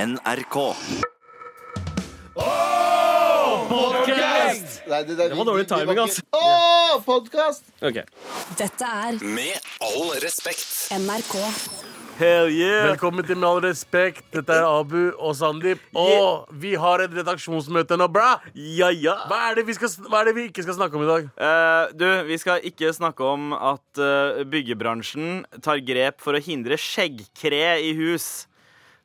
NRK. Nei, det, det, var dårlig timing, altså. Å, podkast! Ok. Dette er Med all respekt. NRK. Hell yeah! Velkommen til Med all respekt. Dette er Abu og Sandeep. Og vi har et redaksjonsmøte nå, bra! Ja, ja. Hva er, det vi skal, hva er det vi ikke skal snakke om i dag? Eh, du, vi skal ikke snakke om at eh, byggebransjen tar grep for å hindre skjeggkre i hus.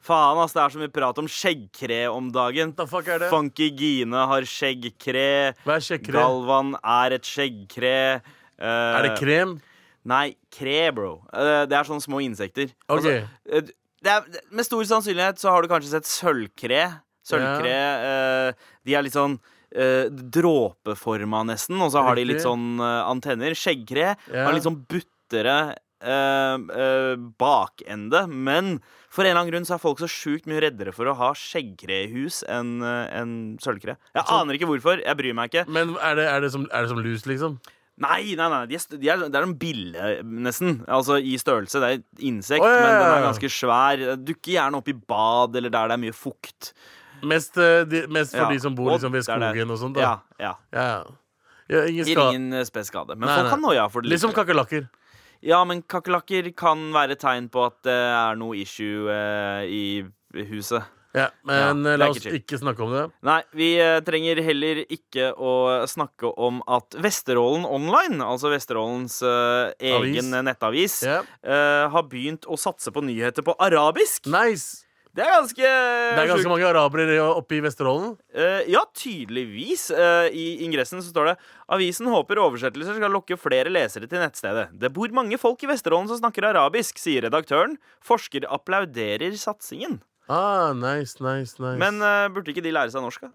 Faen, ass, det er så mye prat om skjeggkre om dagen. What the fuck er det? Funky Gine har skjeggkre. Hva er skjeggkre? Galvan er et skjeggkre. Eh, Er det krem? Nei, kre, bro. Eh, det er sånne små insekter. Ok. eh, du- det er, det- med stor sannsynlighet så har du kanskje sett sølvkre. Sølvkre eh, De er litt sånn eh, dråpeforma, nesten, og så har de litt Riktig. sånn eh, antenner. Skjeggkre Ja. har litt sånn buttere eh, eh, bakende, men for en eller annen grunn så er folk så sjukt mye reddere for å ha skjeggkre i hus enn eh, enn sølvkre. Jeg aner ikke hvorfor. Jeg bryr meg ikke. Men er det, er, det som, er det som lus, liksom? Nei, nei, nei, de er, st- de er, det er en bille, nesten. Altså i størrelse. Det er et insekt, Å, ja, ja, men den ja. er ganske svær. Dukker gjerne opp i bad eller der det er mye fukt. Mest, eh, de, mest for Ja. de som bor Og liksom, ved der det er- skogen og sånt? Ja, Da. ja. Ja. ja. Ingen Gir skade. ingen eh, spes skade. Men Nei, Liksom folk nei. kan noia for det. Litt som likevel. kakerlakker. Ja, men kakerlakker kan være tegn på at det er noe issue eh, i huset. Ja, men Ja, eh, det er la ikke oss chill. ikke snakke om det. Nei, vi eh, trenger heller ikke å snakke om at Vesterålen Online, altså Vesterålens eh, egen Avis. nettavis, Ja. eh, har begynt å satse på nyheter på arabisk. Nice! Det er ganske Det er ganske mange arabere oppe i Vesterålen. Eh, ja, tydeligvis. Eh, I ingressen så står det Avisen håper oversettelser skal lokke flere lesere til nettstedet. Det bor mange folk i Vesterålen som snakker arabisk, sier redaktøren. Forsker applauderer satsingen. Ah, nice, nice, nice. Men eh, burde ikke de lære seg norsk, da?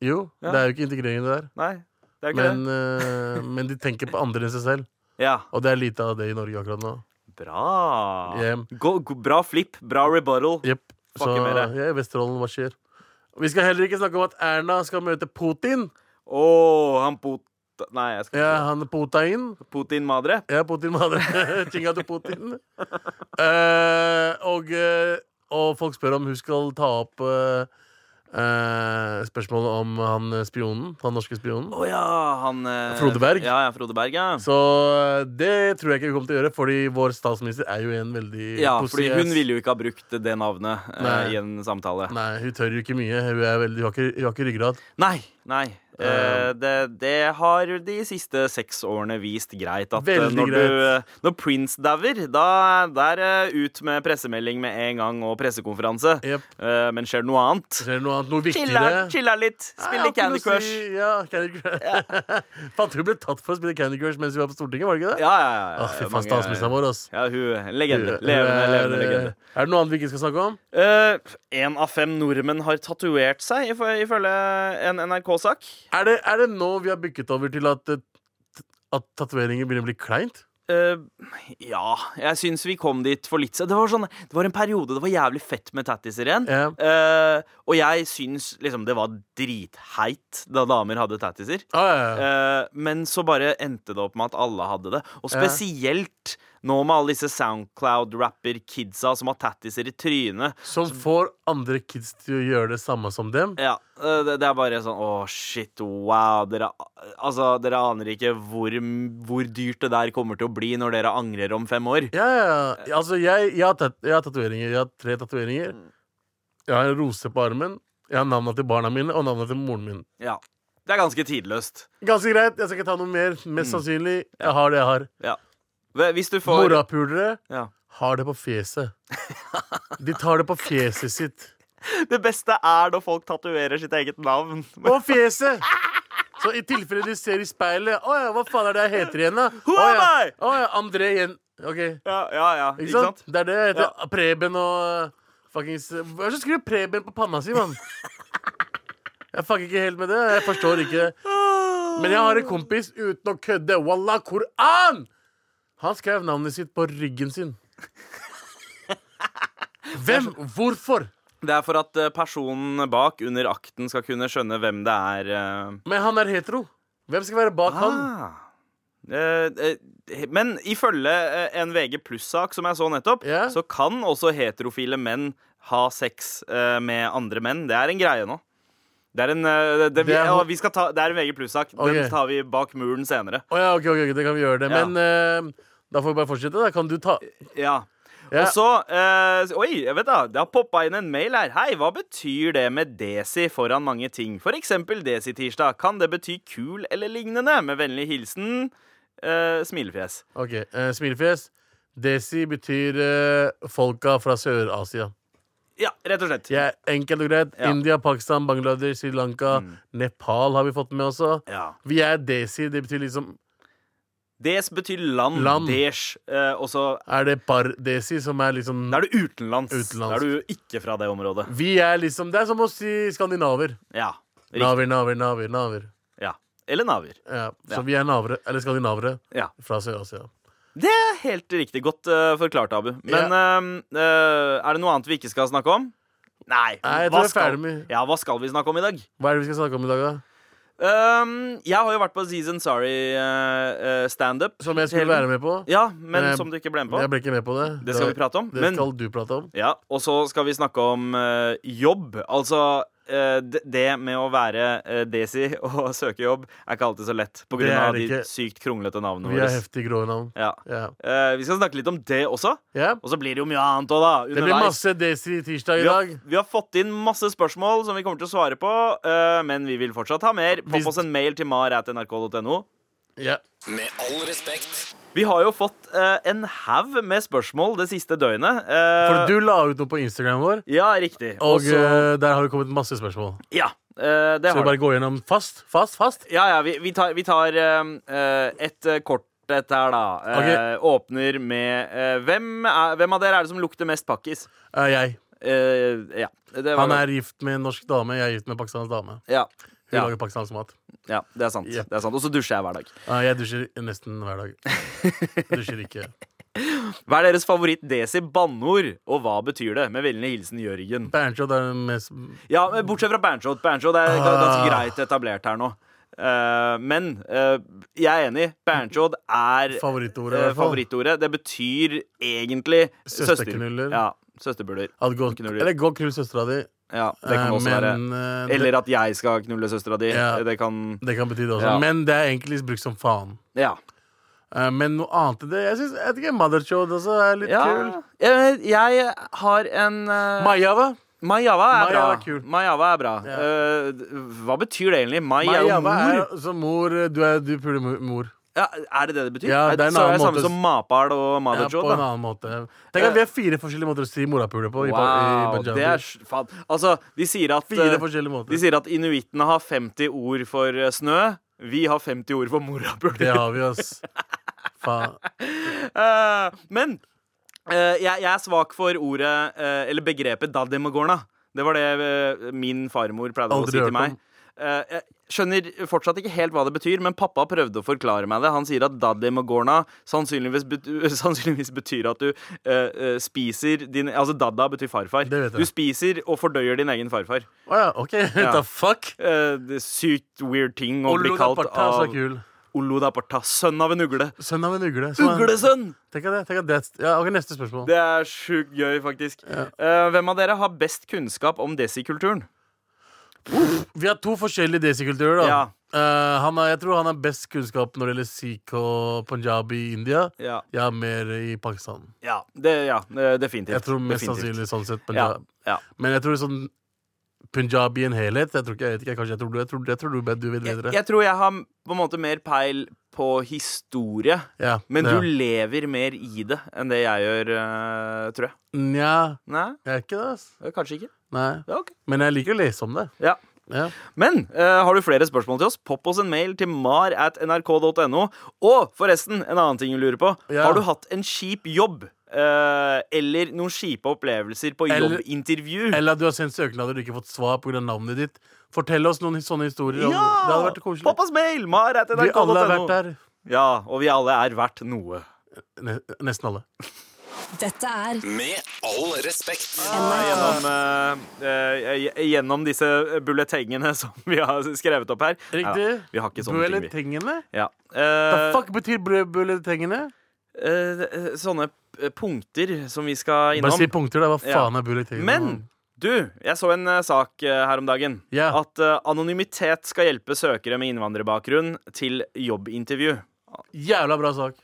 jo, ja. det er jo ikke integreringen det der. Nei. Det er jo ikke Men, eh, men de tenker på andre enn seg selv. det. Ja. Og det er lite av det i Norge akkurat nå. Bra. Jem. Gå- gå- bra flip. Bra rebuttal. Jepp. Så Fucker med det. ja, Vesterålen, hva skjer? Vi skal heller ikke snakke om at Erna skal møte Putin. Å, han pot... Nei, jeg skal ikke Ja, han Putin. si Putin Madre. Ja, Putin Madre. Kinga til Putin. Eh, og, eh, og folk spør om hun skal ta opp eh, eh, spørsmålet om han eh, spionen. Han norske spionen. Å ja, han eh, Frode Berg. Ja, ja, Frode Berg, ja. Så eh, det tror jeg ikke vi kommer til å gjøre, fordi vår statsminister er jo en veldig Ja, pussy fordi ass. hun ville jo ikke ha brukt det navnet eh, Nei. i en samtale. Nei. Nei, hun tør jo ikke mye. Hun, er veldig, hun, har, ikke, hun har ikke ryggrad. Nei. Eh, Um. det, det har de siste seks årene vist greit. At eh, Veldig når, Du, greit. eh, når Prince dauer, da der eh, ut med pressemelding med en gang og pressekonferanse. Jepp. Eh, men skjer det noe annet? Ser du noe annet, noe viktigere? Chiller'n, chiller'n litt. Nei, Spiller jeg har ikke noe Candy å Crush. Si, ja, Candy Crush. Fant hun ble tatt for å spille Candy Crush mens vi var på Stortinget, var det ikke det? Ja, ja, ja. Åh, fy faen, Mange- statsministeren vår, ass. Ja, hun Hun- legende. hun Levende, er- levende legende. Er det noe annet vi ikke skal snakke om? Én av fem nordmenn har tatovert seg, ifø- ifølge en NRK-sak. Er det, er det nå vi har bykket over til at, eh, t- at tatoveringer begynner å bli kleint? Eh, ja, jeg syns vi kom dit for litt siden. Det var, sånn, det var en periode det var jævlig fett med tattiser igjen. Ja. Eh, og jeg syns liksom det var dritheit da damer hadde tattiser. Ah, ja, ja. Eh, men så bare endte det opp med at alle hadde det. Og Ja. spesielt nå med alle disse Soundcloud-rapper-kidsa som har tattiser i trynet. Som får andre kids til å gjøre det samme som dem? Ja, eh, det, det er bare sånn Å, shit, wow. Dere, altså, dere aner ikke hvor, hvor dyrt det der kommer til å bli når dere angrer om fem år. Ja, ja. ja. Altså, jeg, jeg, har tat jeg har tatoveringer. Jeg har tre tatoveringer. Jeg har en rose på armen. Jeg har navnet til barna mine og navnet til moren min. Ja. Det er ganske tidløst. Ganske greit. Jeg skal ikke ta noe mer. Mest sannsynlig. Mm. Jeg har det jeg har. Ja. Hve- Hvis du får Morapulere ja. har det på fjeset. De tar det på fjeset sitt. Det beste er når folk tatoverer sitt eget navn. På fjeset! Så i tilfelle du ser i speilet Å ja, hva faen er det jeg heter igjen, da? Who Å ja. am I? Å ja, André igjen. OK. Ja, ja, ja. Ikke sant? Det er det jeg heter. Preben og uh, fuckings Hva er det som skriver Preben på panna si, mann? Jeg fucker ikke helt med det. Jeg forstår ikke det. Men jeg har en kompis uten å kødde. Wallah Koran! Han skrev navnet sitt på ryggen sin. Hvem? Hvorfor? Det er for at eh, personen bak under akten skal kunne skjønne hvem det er. eh. Men han er hetero. Hvem skal være bak han? Ah. Eh, eh, men ifølge eh, en VG pluss-sak som jeg så nettopp, Ja. så kan også heterofile menn ha sex eh, med andre menn. Det er en greie nå. Det er en, eh, det, det, vi, Det er- ja, vi skal ta, det er en VG pluss-sak. Ok. Den tar vi bak muren senere. Å ja, ok, ok, ok, det kan vi gjøre det. Ja. Men eh, da får vi bare fortsette. Da kan du ta Ja. Ja. Og så eh, Oi, jeg vet da, det har poppa inn en mail her. Hei, hva betyr det med desi foran mange ting? For eksempel desi-tirsdag. Kan det bety kul eller lignende? Med vennlig hilsen eh, smilefjes. Ok, eh, Smilefjes. Desi betyr eh, folka fra Sør-Asia. Ja, rett og slett. Jeg er enkelt og greit. Ja. Mm. India, Pakistan, Bangladesh, Sri Lanka, Nepal har vi fått med også. Ja. Vi er desi. Det betyr liksom Des betyr land. Land. Des. eh, og så Er det par-desi som er liksom Da er du utenlands. Utenlands. Da er du jo ikke fra det området. Vi er liksom Det er som å si skandinaver. Ja. Riktig. Naver, naver, naver. naver. ja. Eller naver. Ja. Så Ja. vi er navere, eller skandinavere, Ja. fra Sør-Asia. Det er helt riktig. Godt eh, forklart, Abu. Men eh, eh, er det noe annet vi ikke skal snakke om? Nei. Nei, jeg tror jeg er skal, ferdig med- ja, hva skal vi snakke om i dag? Hva er det vi skal snakke om i dag, da? Ehm, jeg har jo vært på Season Sorry uh, standup. Som jeg skulle være med på. Ja, men Men jeg- som du ikke ble med på. Jeg ble ikke med på det. Det skal vi prate om, Det men- skal du prate om. Ja, Og så skal vi snakke om eh, jobb. Altså eh, d- det med å være eh, desi og søke jobb er ikke alltid så lett På grunn Det er av det de ikke. sykt kronglete navnene Vi er våre. heftig grå navn. Ja. Ja. Eh, vi skal snakke litt om det også. ja. Og så blir det jo mye annet òg, da. Det blir underveis. masse Desi tirsdag Vi i dag. har, vi har fått inn masse spørsmål som vi kommer til å svare på, eh, men vi vil fortsatt ha mer. Hvis- Popp oss en mail til mar.nrk.no. Ja. Med all respekt. Vi har jo fått eh, en haug med spørsmål det siste døgnet. eh, For du la ut noe på Instagram vår, Ja, riktig. og Også- eh, der har det kommet masse spørsmål. Ja, eh, det Så vi har du. bare går gjennom fast, fast, fast. Ja, ja, vi, vi tar, vi tar eh, eh, et eh, kort et her, da. Eh, Åpner med eh, hvem, er, hvem av dere er det som lukter mest pakkis? Eh, jeg. Eh, ja. Det var Han er gift med en norsk dame, jeg er gift med en pakistansk dame. Ja. Hun Ja. lager pakistansk mat. Ja, det er sant. Ja. Det er sant. Og så dusjer jeg hver dag. Eh, jeg dusjer nesten hver dag. Dusjer ikke. Hva er deres favoritt-desi-banneord, og hva betyr det? Med vennlig hilsen Jørgen. Bernchot er den mest Ja, men Bortsett fra Banchot. Banchot er ga- Ah. ganske greit etablert her nå. Eh, men eh, jeg er enig. Banchot er favorittordet. i eh, hvert fall. favorittordet. Det betyr egentlig søster- Søsterknuller. Ja, søsterbuler. At gå, Knuller. eller gå og knull søstera di. Ja, det kan Eh, også være men, eh, det- Eller at jeg skal knulle søstera di. Ja. Det kan Det kan bety det også. Ja. Men det er egentlig brukt som faen. Ja. Eh, men noe annet enn det Jeg synes, jeg vet ikke, Motherchod også er litt kul. ja. Jeg, jeg har en eh, Majava. Majava er Majava bra. er kul. Majava er bra. Ja. Eh, d- hva betyr det egentlig? Mai er jo Majava mor. er som mor. Du, er, du puler mo- mor. Ja, er det det det betyr? Ja, det er en så er annen det samme måte- som mapal og Ja, på madajod? en da. annen måte. Tenk at vi har fire forskjellige måter å si morapuler på. i pa- i Eh, Wow, Punjabi. det er s- faen. Altså, de sier at Fire eh, forskjellige måter. De sier at inuittene har 50 ord for eh, snø. Vi har 50 ord for Det morapuler. har vi, ass. Faen. Eh, men eh, jeg, jeg er svak for ordet eh, Eller begrepet daddemogorna. Det var det eh, min farmor pleide Aldri å si hørt til meg. om. Eh, jeg skjønner fortsatt ikke helt hva det betyr, men pappa prøvde å forklare meg det. Han sier at daddemogorna sannsynligvis, bet sannsynligvis betyr at du eh, eh, spiser din Altså dadda betyr farfar. Det vet jeg. Du spiser og fordøyer din egen farfar. Å ja, OK. What the fuck? Eh, det er sykt weird ting å bli kalt Olodaparta er så av kul. Olodaparta. Sønn av en ugle. Sønn av en ugle. Så- Uglesønn! Tenk at det, tenk at det ja, ok, Neste spørsmål. Det er sjukt gøy, faktisk. Eh, hvem av dere har best kunnskap om desikulturen? Vi har to forskjellige desikulturer. da Ja. Eh, han har, Jeg tror han har best kunnskap når det gjelder sikh og punjabi i India. Ja. Jeg har mer i Pakistan. Ja, det, ja eh, definitivt. Jeg tror mest definitivt. sannsynlig sånn sett Ja, punjab. ja. Men jeg tror sånn punjabi i en helhet Jeg tror ikke, jeg vet ikke, kanskje jeg tror du, jeg tror, jeg tror du, vet- du vet Jeg, bedre. jeg tror jeg har på en måte mer peil på historie, ja, men det- du lever mer i det enn det jeg gjør, eh, tror jeg. Nja, Nei, jeg er ikke det, ass. eh, kanskje ikke. Nei. Ja, ok. Men jeg liker å lese om det. Ja. Ja. Men eh, har du flere spørsmål til oss, popp oss en mail til mar at nrk.no. Og forresten, en annen ting vi lurer på. Ja. Har du hatt en kjip jobb? eh, eller noen kjipe opplevelser på Eller- jobbintervju? Eller at du har sendt søknader du ikke har fått svar pga. navnet ditt. Fortell oss noen sånne historier. om- Det hadde Ja! vært koselig. Pappas mail! Mar at Vi alle har vært nrk.no. der. Ja, og vi alle er verdt noe. Ne nesten alle. Dette er Med all respekt. Gjennom, eh, eh, gjennom disse bulletengene som vi har skrevet opp her. Riktig. Neida, vi har ikke sånne ting, vi. Bulletengene? Ja. Hva Eh, fuck betyr bulletengene? eh, sånne eh, punkter som vi skal Bare si innom. punkter, da. Hva Ja. faen er buletin? Men du, jeg så en eh, sak eh, her om dagen. Ja. At eh, anonymitet skal hjelpe søkere med innvandrerbakgrunn til jobbintervju. Jævla bra sak.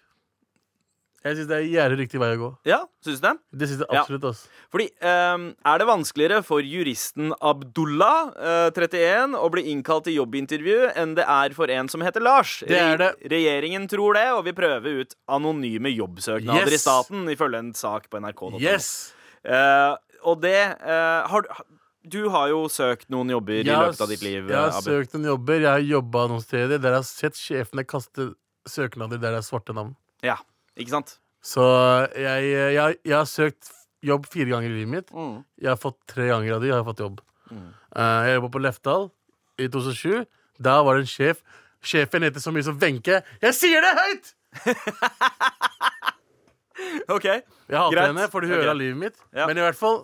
Jeg syns det er jævlig riktig vei å gå. Ja, syns du det? Det syns jeg Ja. absolutt, ass. Fordi ehm, Er det vanskeligere for juristen Abdullah, eh, 31, å bli innkalt til jobbintervju enn det er for en som heter Lars? Det er det. Re- Regjeringen tror det og vil prøve ut anonyme jobbsøknader Yes. i staten, ifølge en sak på nrk.no. Yes! Eh, og det eh, har, du- Du har jo søkt noen jobber i løpet av ditt liv, jeg har Abu. søkt noen jobber, jeg har jobba noen steder der jeg har sett sjefene kaste søknader der det er svarte navn. Ja, ikke sant? Så jeg, jeg, jeg har søkt jobb fire ganger i livet mitt. Mm. Jeg har fått tre ganger av de, har jeg fått jobb. Eh, jeg jobba på Lefdal i 2007. Da var det en sjef. Sjefen heter så mye som Wenche. Jeg sier det høyt! OK. Jeg hater Greit. henne, for du Ok. hører av livet mitt. Ja. Men i hvert fall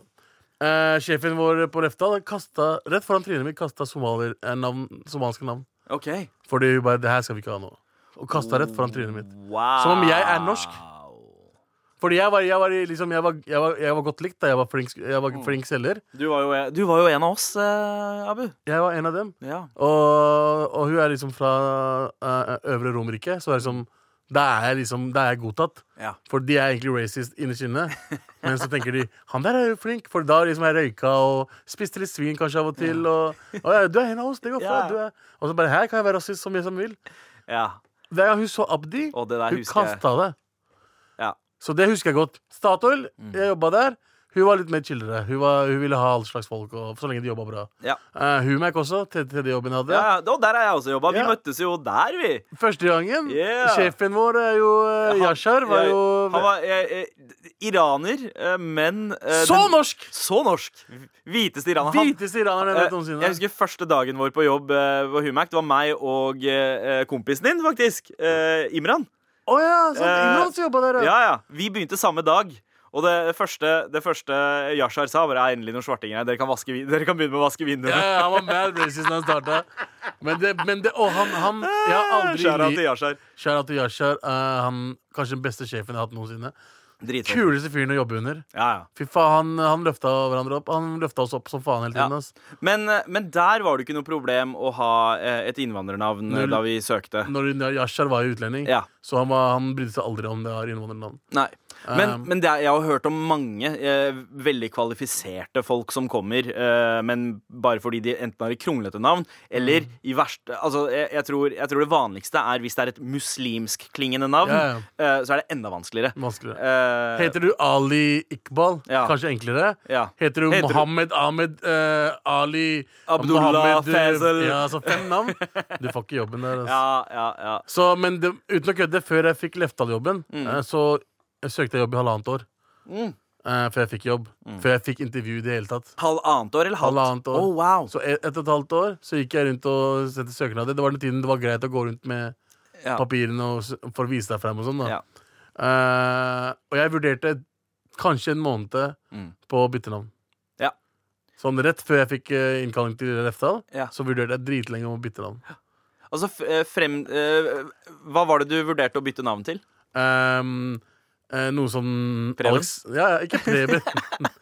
eh, Sjefen vår på Lefdal kasta rett foran trynet mitt kasta somalier, eh, navn, somaliske navn. ok Fordi hun bare Det her skal vi ikke ha nå. Og kasta rett foran trynet mitt. Wow. Som om jeg er norsk. Fordi jeg var, jeg var, i- liksom, jeg var, jeg var, jeg var godt likt da jeg var flink, jeg Mm. var flink selger. Du var jo, du var jo en av oss, eh, Abu. Jeg var en av dem. Ja. Og, og hun er liksom fra eh, Øvre Romerike, så det er liksom da er jeg liksom, da er jeg godtatt. Ja. For de er egentlig racist innerst inne. Men så tenker de 'han der er jo flink', for da liksom jeg røyka og spiste litt svin kanskje av og til. Og, «Å ja, 'du er en av oss, det går Ja. bra'. du er- Og så bare 'her kan jeg være rasist så mye som jeg vil'. ja. Det er, hun så Abdi. Og det der Hun husker jeg. kasta det. Ja. Så det husker jeg godt. Statoil, jeg jobba der. Hun var litt mer chillere. Hun, var, hun ville ha all slags folk, og, så lenge de jobba bra. Ja. Eh, Humac også. Tredje tredje jobben jeg hadde. Ja, ja, og der har jeg også jobba. Vi Ja. møttes jo der, vi. Første gangen. Yeah. Sjefen vår er jo eh, Yashar. Var Jeg- jo Han var eh, eh, iraner, eh, men eh, Så den- norsk! Så norsk! Hviteste iraner. Han- Hviteste iraneren jeg eh, vet noensinne. jeg husker første dagen vår på jobb eh, på Humac. Det var meg og eh, kompisen din, faktisk. eh, Imran. Å ja, sånn eh, Imran som jobba der, ja. Ja, ja. Vi begynte samme dag. Og det første, det første Yashar sa, var «Er endelig noen svartinger her. Dere kan, vaske, vin- dere kan begynne med å vaske vinduene. Ja, ja, han var mad racist da han starta. Men det, men det Og han, han Jeg har aldri Skjæra Eh, til Yashar. Shout out til Yashar. eh, han kanskje den beste sjefen jeg har hatt noensinne. Dritfett. Kuleste fyren å jobbe under. Ja, ja. Fy faen, han, han løfta hverandre opp. Han løfta oss opp som faen hele tiden. Ja. ass. Men, eh, men der var det ikke noe problem å ha eh, et innvandrernavn eh, Null. da vi søkte. Når Yashar var jo utlending, Ja. så han, var, han brydde seg aldri om det var innvandrernavn. Nei. Men, Um. men det er, jeg har hørt om mange eh, veldig kvalifiserte folk som kommer, eh, men bare fordi de enten har et kronglete navn, eller Mm. i verste Altså, jeg, jeg, tror, jeg tror det vanligste er hvis det er et muslimsk-klingende navn, Ja, Eh, så er det enda vanskeligere. Vanskeligere. Eh, Heter du Ali Iqbal? Ja. Kanskje enklere. Ja. Heter du Heter du- Mohammed Ahmed eh, Ali Abdullah, Mohammed, eh, Faisal. Ja, altså fem navn. Du får ikke jobben der. Altså. ja, ja, ja. Så, men det, uten å kødde, før jeg fikk Lefdal-jobben, Mm. eh, så søkte jeg jobb i halvannet år. Eh, før jeg fikk jobb. Mm. Før jeg fikk intervju i det hele tatt. Halvannet år eller halvt? Halvannet år. Oh, wow. Så et, et og et halvt år så gikk jeg rundt og sendte søknader. Det var den tiden det var greit å gå rundt med Ja. papirene og, s- for å vise deg frem og sånn. da Ja. Eh, Og jeg vurderte kanskje en måned Mm. på å bytte navn. Ja. Sånn rett før jeg fikk eh, innkalling til Refdal, Ja. så vurderte jeg dritlenge om å bytte navn. Altså, f- eh, frem... eh, Hva var det du vurderte å bytte navn til? Ehm, eh, noe som Preben? Alex, ja, ja, ikke Preben.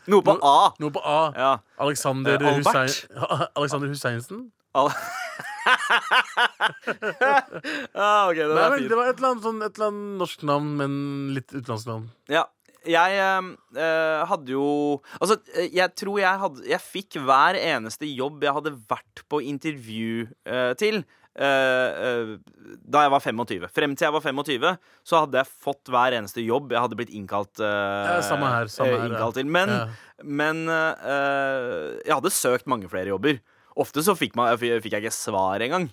Noe på A. noe på A. Ja. Alexander, Eh, Albert? Hussein, Alexander Husseinsen? Al- ah, ok, den Nei, vel, er det fin. var et eller annet, sånn, et eller annet norsk navn, men litt utenlandsk navn. Ja. Jeg eh, eh, hadde jo Altså, eh, jeg tror jeg hadde Jeg fikk hver eneste jobb jeg hadde vært på intervju eh, til. eh, eh, da jeg var 25. Frem til jeg var 25, så hadde jeg fått hver eneste jobb jeg hadde blitt innkalt, eh, Ja, samme her, samme eh, her, ja. innkalt til. Men, Ja. men eh, jeg hadde søkt mange flere jobber. Ofte så fikk, man, f- fikk jeg ikke svar engang.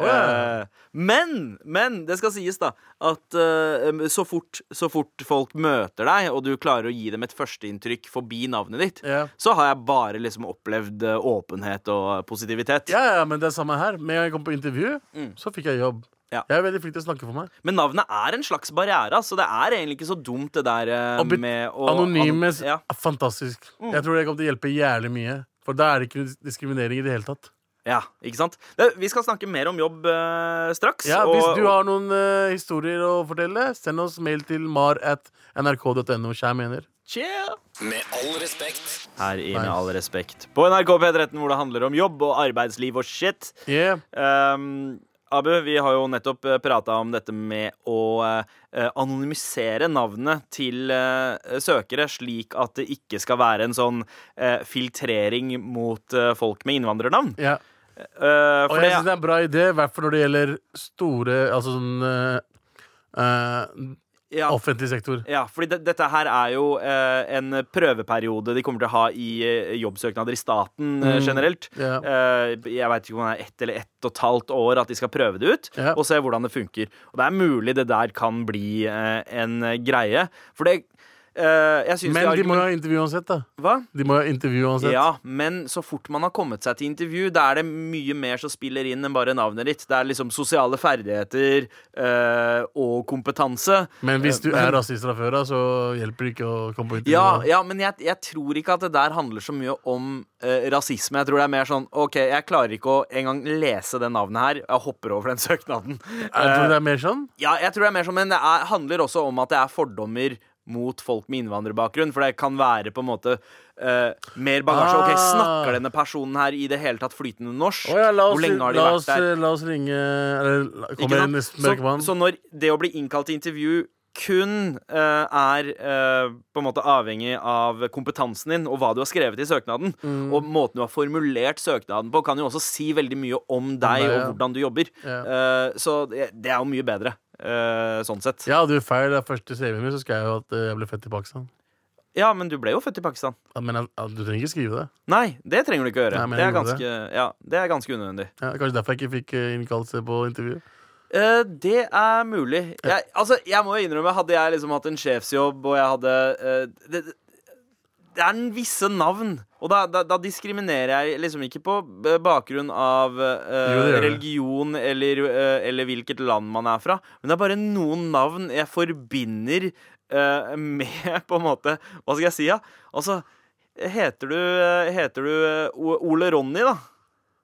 Å, ja. Eh, men, men det skal sies, da, at eh, så, fort, så fort folk møter deg, og du klarer å gi dem et førsteinntrykk forbi navnet ditt, Ja. så har jeg bare liksom opplevd eh, åpenhet og positivitet. Ja, ja, men det er samme her. Med en gang jeg kom på intervju, så fikk jeg jobb. Mm. Ja. Jeg er veldig flink til å snakke for meg. Men navnet er en slags barriere, så det er egentlig ikke så dumt, det der eh, Og bet- med å Anonyme Ja. Mm. er fantastisk. Jeg tror det kommer til å hjelpe jævlig mye. For da er det ikke diskriminering i det hele tatt. Ja, ikke sant? Det, vi skal snakke mer om jobb eh, straks. Ja, Hvis og- du har noen eh, historier å fortelle, send oss mail til mar at nrk.no. Kjær mener. Cheer! Med all respekt. Her i Med Nice. all respekt på NRK P13, hvor det handler om jobb og arbeidsliv og shit. Yeah. Ehm, Abu, vi har jo nettopp prata om dette med å eh, anonymisere navnene til eh, søkere, slik at det ikke skal være en sånn eh, filtrering mot eh, folk med innvandrernavn. Ja. Eh, for Og jeg syns det, det er en bra idé, i hvert fall når det gjelder store Altså sånn eh, eh, ja, offentlig sektor. ja, fordi det, dette her er jo eh, en prøveperiode de kommer til å ha i eh, jobbsøknader i staten eh, Mm. generelt. Ja. Eh, jeg veit ikke om det er ett eller ett og et halvt år at de skal prøve det ut Ja. og se hvordan det funker. Og det er mulig det der kan bli eh, en greie. For det eh, jeg synes Men det de må jo argument- ha intervju uansett, da. Hva? De må jo ha intervju uansett. Ja, men så fort man har kommet seg til intervju, da er det mye mer som spiller inn enn bare navnet ditt. Det er liksom sosiale ferdigheter eh, og kompetanse. Men hvis du er rasist fra før av, så hjelper det ikke å komme på intervju. Eh, Ja, ja men jeg, jeg tror ikke at det der handler så mye om eh, rasisme. Jeg tror det er mer sånn OK, jeg klarer ikke å engang lese det navnet her. Jeg hopper over den søknaden. Jeg Eh, tror det er mer sånn. Ja, jeg tror det er mer sånn, men det er, handler også om at det er fordommer mot folk med innvandrerbakgrunn, for det kan være på en måte eh, mer bagasje. Ah. Ok, Snakker denne personen her i det hele tatt flytende norsk? Å ja, la oss, Hvor lenge har de la, vært oss, eh, der? la oss ringe Eller la- Ikke kommer sant? Sånn- nesten mørkemann. Så, så når det å bli innkalt til intervju kun eh, er eh, på en måte avhengig av kompetansen din og hva du har skrevet i søknaden, Mm. og måten du har formulert søknaden på, kan jo også si veldig mye om deg deg, og ja. hvordan du jobber. Ja. Eh, så det, det er jo mye bedre eh, sånn sett. Ja, du er feil. Det er første CV-en min, så skal jeg jo at eh, jeg ble født i Pakistan. Ja, men du ble jo født i Pakistan. Ja, Men jeg- ja, du trenger ikke skrive det. Nei, det trenger du ikke gjøre. Nei, men det, jeg er gjorde ganske, Ja, det er ganske unødvendig. Ja, kanskje derfor jeg ikke fikk eh, innkallelse på intervju. Eh, det er mulig. Jeg, altså, jeg må jo innrømme, hadde jeg liksom hatt en sjefsjobb, og jeg hadde eh, det, det er en visse navn. Og da, da, da diskriminerer jeg liksom ikke på b- bakgrunn av eh, Jo, det gjør du. religion eller, eh, eller hvilket land man er fra, men det er bare noen navn jeg forbinder eh, med på en måte Hva skal jeg si, da? Altså, heter du, heter du eh, O- Ole Ronny, da?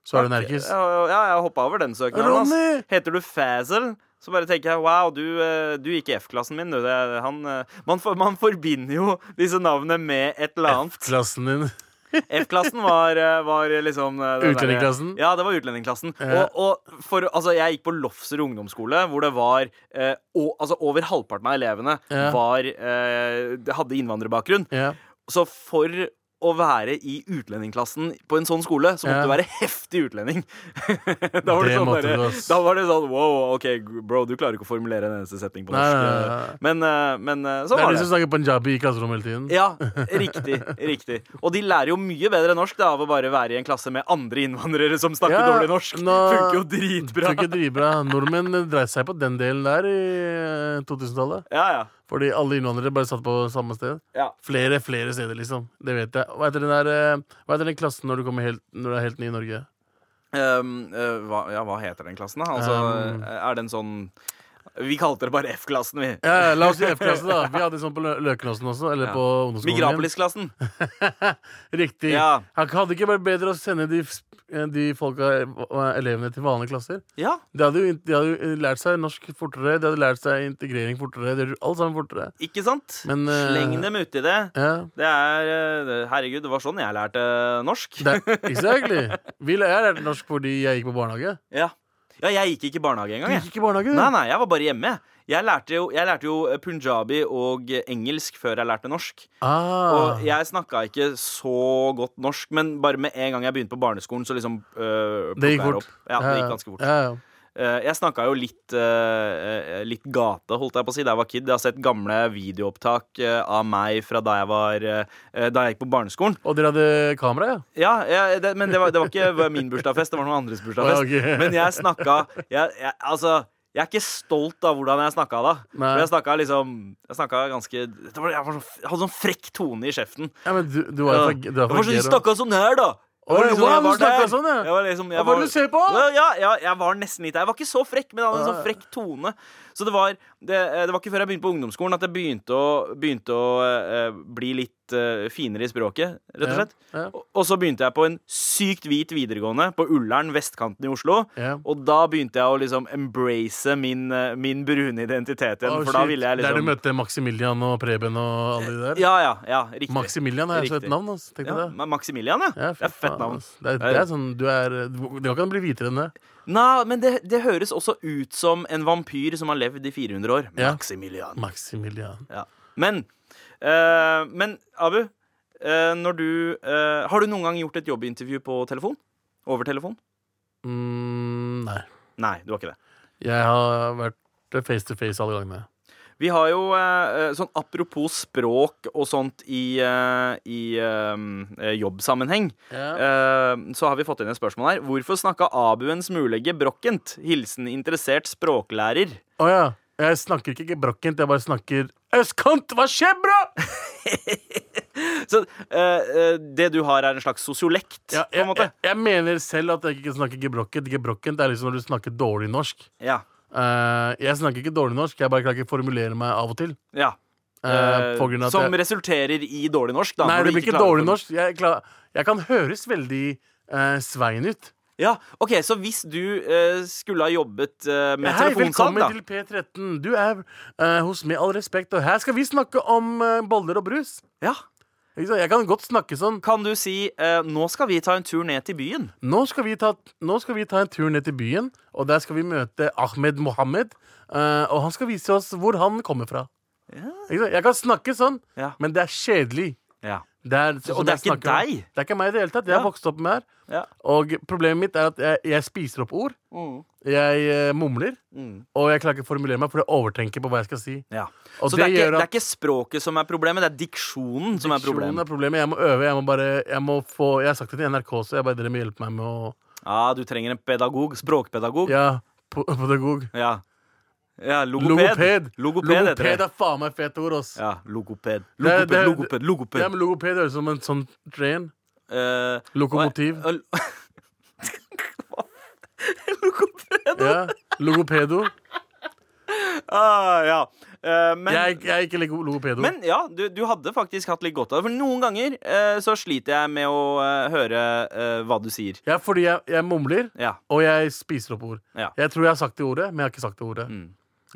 Så er du nerkis. Ja, ja, jeg hoppa over den søknaden. ass. Ronny! Heter du Fazel, så bare tenker jeg wow, du, eh, du gikk i F-klassen min, du. Det, er- han, eh, man, for, man forbinder jo disse navnene med et eller annet. Klassen din. F-klassen var, eh, var liksom eh, den derre- Utlendingklassen. Ja, det var utlendingklassen. Ja. Og, og for, altså, jeg gikk på Lofser ungdomsskole, hvor det var eh, o, altså, Over halvparten av elevene Ja. var, eh, hadde innvandrerbakgrunn. Ja. Så for å være i utlendingklassen på en sånn skole, så måtte Ja. du være heftig utlending. da, var det Det sånn måtte bare, du, ass. da var det sånn wow, OK, bro, du klarer ikke å formulere en eneste setning på Nei, norsk. nei, nei, nei. Men, eh, men eh, sånn Det er var de det. som snakker punjabi i klasserommet hele tiden. Ja, riktig. riktig Og de lærer jo mye bedre norsk da, av å bare være i en klasse med andre innvandrere som snakker Ja, dårlig norsk. nå- Funker jo Tror dritbra. ikke dritbra. Nordmenn dreide seg på den delen der i eh, 2000-tallet. Ja, ja, Fordi alle innvandrere bare satt på samme sted. ja. Flere flere steder, liksom. Det vet jeg. Hva heter den, der, eh, hva heter den klassen når du, kommer helt, når du er helt ny i Norge? Ehm, eh, hva, ja, hva heter den klassen, da? Altså, Um. er det en sånn Vi kalte det bare F-klassen, vi. Ja, ja, la oss si F-klasse, da. Vi hadde sånn på Lø- Løkenåsen også. Eller Ja. på ungdomsskolen. min. Migrapolis-klassen. Riktig. Ja. Han hadde ikke vært bedre å sende de, f- de folka, eh, elevene til vanlige klasser. Ja, De hadde, jo, in- de hadde jo eh, lært seg norsk fortere, de hadde lært seg integrering fortere. De hadde gjort alt sammen fortere. Ikke sant? Men, eh, Sleng dem uti det. Ja. Det er eh, det- Herregud, det var sånn jeg lærte norsk. Det, exactly. Vi jeg lærte norsk fordi jeg gikk på barnehage. Ja. ja, jeg gikk ikke i barnehage Du engang. Jeg. gikk ikke i barnehage? du? Nei, nei, jeg var bare hjemme. jeg. Jeg lærte, jo, jeg lærte jo eh, punjabi og engelsk før jeg lærte norsk. Ah. Og jeg snakka ikke så godt norsk, men bare med en gang jeg begynte på barneskolen, så liksom øh, Det gikk plukket jeg fort. opp. Ja, det gikk ganske fort. Ja, ja. Eh, Jeg snakka jo litt, eh, eh, litt gate, holdt jeg på å si, da jeg var kid. Jeg har sett gamle videoopptak eh, av meg fra da jeg, var, eh, da jeg gikk på barneskolen. Og dere hadde kamera, ja? Ja, ja det, men det var, det var ikke min bursdagsfest, det var noen andres Å, bursdagsfest. ja, Ah, ok. Men jeg snakka jeg, jeg, Altså, jeg er ikke stolt av hvordan jeg snakka da. Nei. For jeg snakka liksom Jeg snakka ganske det var, jeg, var så, jeg hadde sånn frekk tone i kjeften. ja men du, du Ja. var jo Jeg fra, var fra sånn De Gero. snakka sånn her, da! Jeg Oi, liksom- wow, jeg var du snakka der. sånn, ja. Jeg var liksom, jeg Hva var var- det du ser på? Ja, ja, ja, jeg var nesten litt der. Jeg var ikke så frekk, men jeg hadde en sånn Ah. frekk tone. Så det var, det, eh, det var ikke før jeg begynte på ungdomsskolen at jeg begynte å, begynte å eh, bli litt eh, finere i språket, rett Ja, og slett. ja. Og, og så begynte jeg på en sykt hvit videregående på Ullern, vestkanten i Oslo. Ja. Og da begynte jeg å liksom embrace min, eh, min brune identitet Å, igjen, for da shit. ville jeg Der du liksom møtte Maximilian og Preben og alle de der? Ja, ja, ja, riktig. Maximilian er altså et Riktig. navn. Altså. Tenk deg Ja, det. men Maximilian, ja. Ja, Det er fett faen, navn. ass. Det er, det er sånn, du er, det kan bli hvitere enn det. Nei, men det, det høres også ut som en vampyr som har levd i 400 år. Ja. Maximilian. Maximilian. Ja. Men, eh, men Abu, eh, når du eh, Har du noen gang gjort et jobbintervju på telefon? Over telefon? Mm, nei. Nei, du har ikke det. Jeg har vært face to face alle gangene. Vi har jo eh, sånn apropos språk og sånt i, eh, i eh, jobbsammenheng. Eh, Så har vi fått inn et spørsmål her. Hvorfor snakka Abu en smule gebrokkent? Hilsen interessert språklærer. Å ja. Jeg snakker ikke gebrokkent, jeg bare snakker østkant! Hva skjer, bro?! Så eh, eh, det du har, er en slags sosiolekt, Ja, på jeg, en måte? jeg, jeg mener selv at jeg ikke snakker gebrokkent. Gebrokkent er liksom når du snakker dårlig norsk. Ja. Eh, jeg snakker ikke dårlig norsk, jeg bare klarer ikke å formulere meg av og til. ja. Eh, Eh, på grunn av at som jeg, resulterer i dårlig norsk, da. nei, når det du blir ikke klarer å dårlig form- norsk. Jeg, klar, jeg kan høres veldig eh, svein ut. Ja, ok, Så hvis du eh, skulle ha jobbet eh, med Hei, telefonsalg, velkommen da til P13. Du er eh, hos Med all respekt, og her skal vi snakke om eh, boller og brus. ja. Ikke sant? Jeg kan godt snakke sånn. Kan du si eh, 'nå skal vi ta en tur ned til byen'? Nå skal, vi ta, nå skal vi ta en tur ned til byen, og der skal vi møte Ahmed Mohammed. eh, og han skal vise oss hvor han kommer fra. Ikke sant? Jeg kan snakke sånn, Ja. men det er kjedelig. Ja. Det er, sånn som det jeg er ikke snakker om. deg. Det er ikke meg i det hele tatt. Jeg har Ja. vokst opp med her. Ja. Og problemet mitt er at jeg, jeg spiser opp ord. Mm. Jeg eh, mumler. Mm. Og jeg klarer ikke å formulere meg, for jeg overtenker på hva jeg skal si. ja. Og Så det det er, ikke, gjør at- det er ikke språket som er problemet, det er diksjonen som er Diksjonen problemet. er problemet. Jeg må øve. Jeg må bare Jeg må få Jeg har sagt det til NRK, så jeg bare dere må hjelpe meg med å Ja, du trenger en pedagog. Språkpedagog. Ja, po- pedagog. Ja. ja logoped. Logoped. Logoped heter det. er faen meg fett ord, ass. Ja, logoped. Det er- Logoped, det er- logoped, logoped. Ja, men logoped høres ut som en sånn train. Eh, Lokomotiv. og- og- Logoped. Ja. Logopedo. Ah, ja. Eh, men, Jeg, jeg er ikke like logopedo. men ja, du, du hadde faktisk hatt litt godt av det. For noen ganger eh, så sliter jeg med å eh, høre eh, hva du sier. Ja, fordi jeg, jeg mumler, Ja. og jeg spiser opp ord. Ja. Jeg tror jeg har sagt det ordet, men jeg har ikke sagt det ordet. Mm.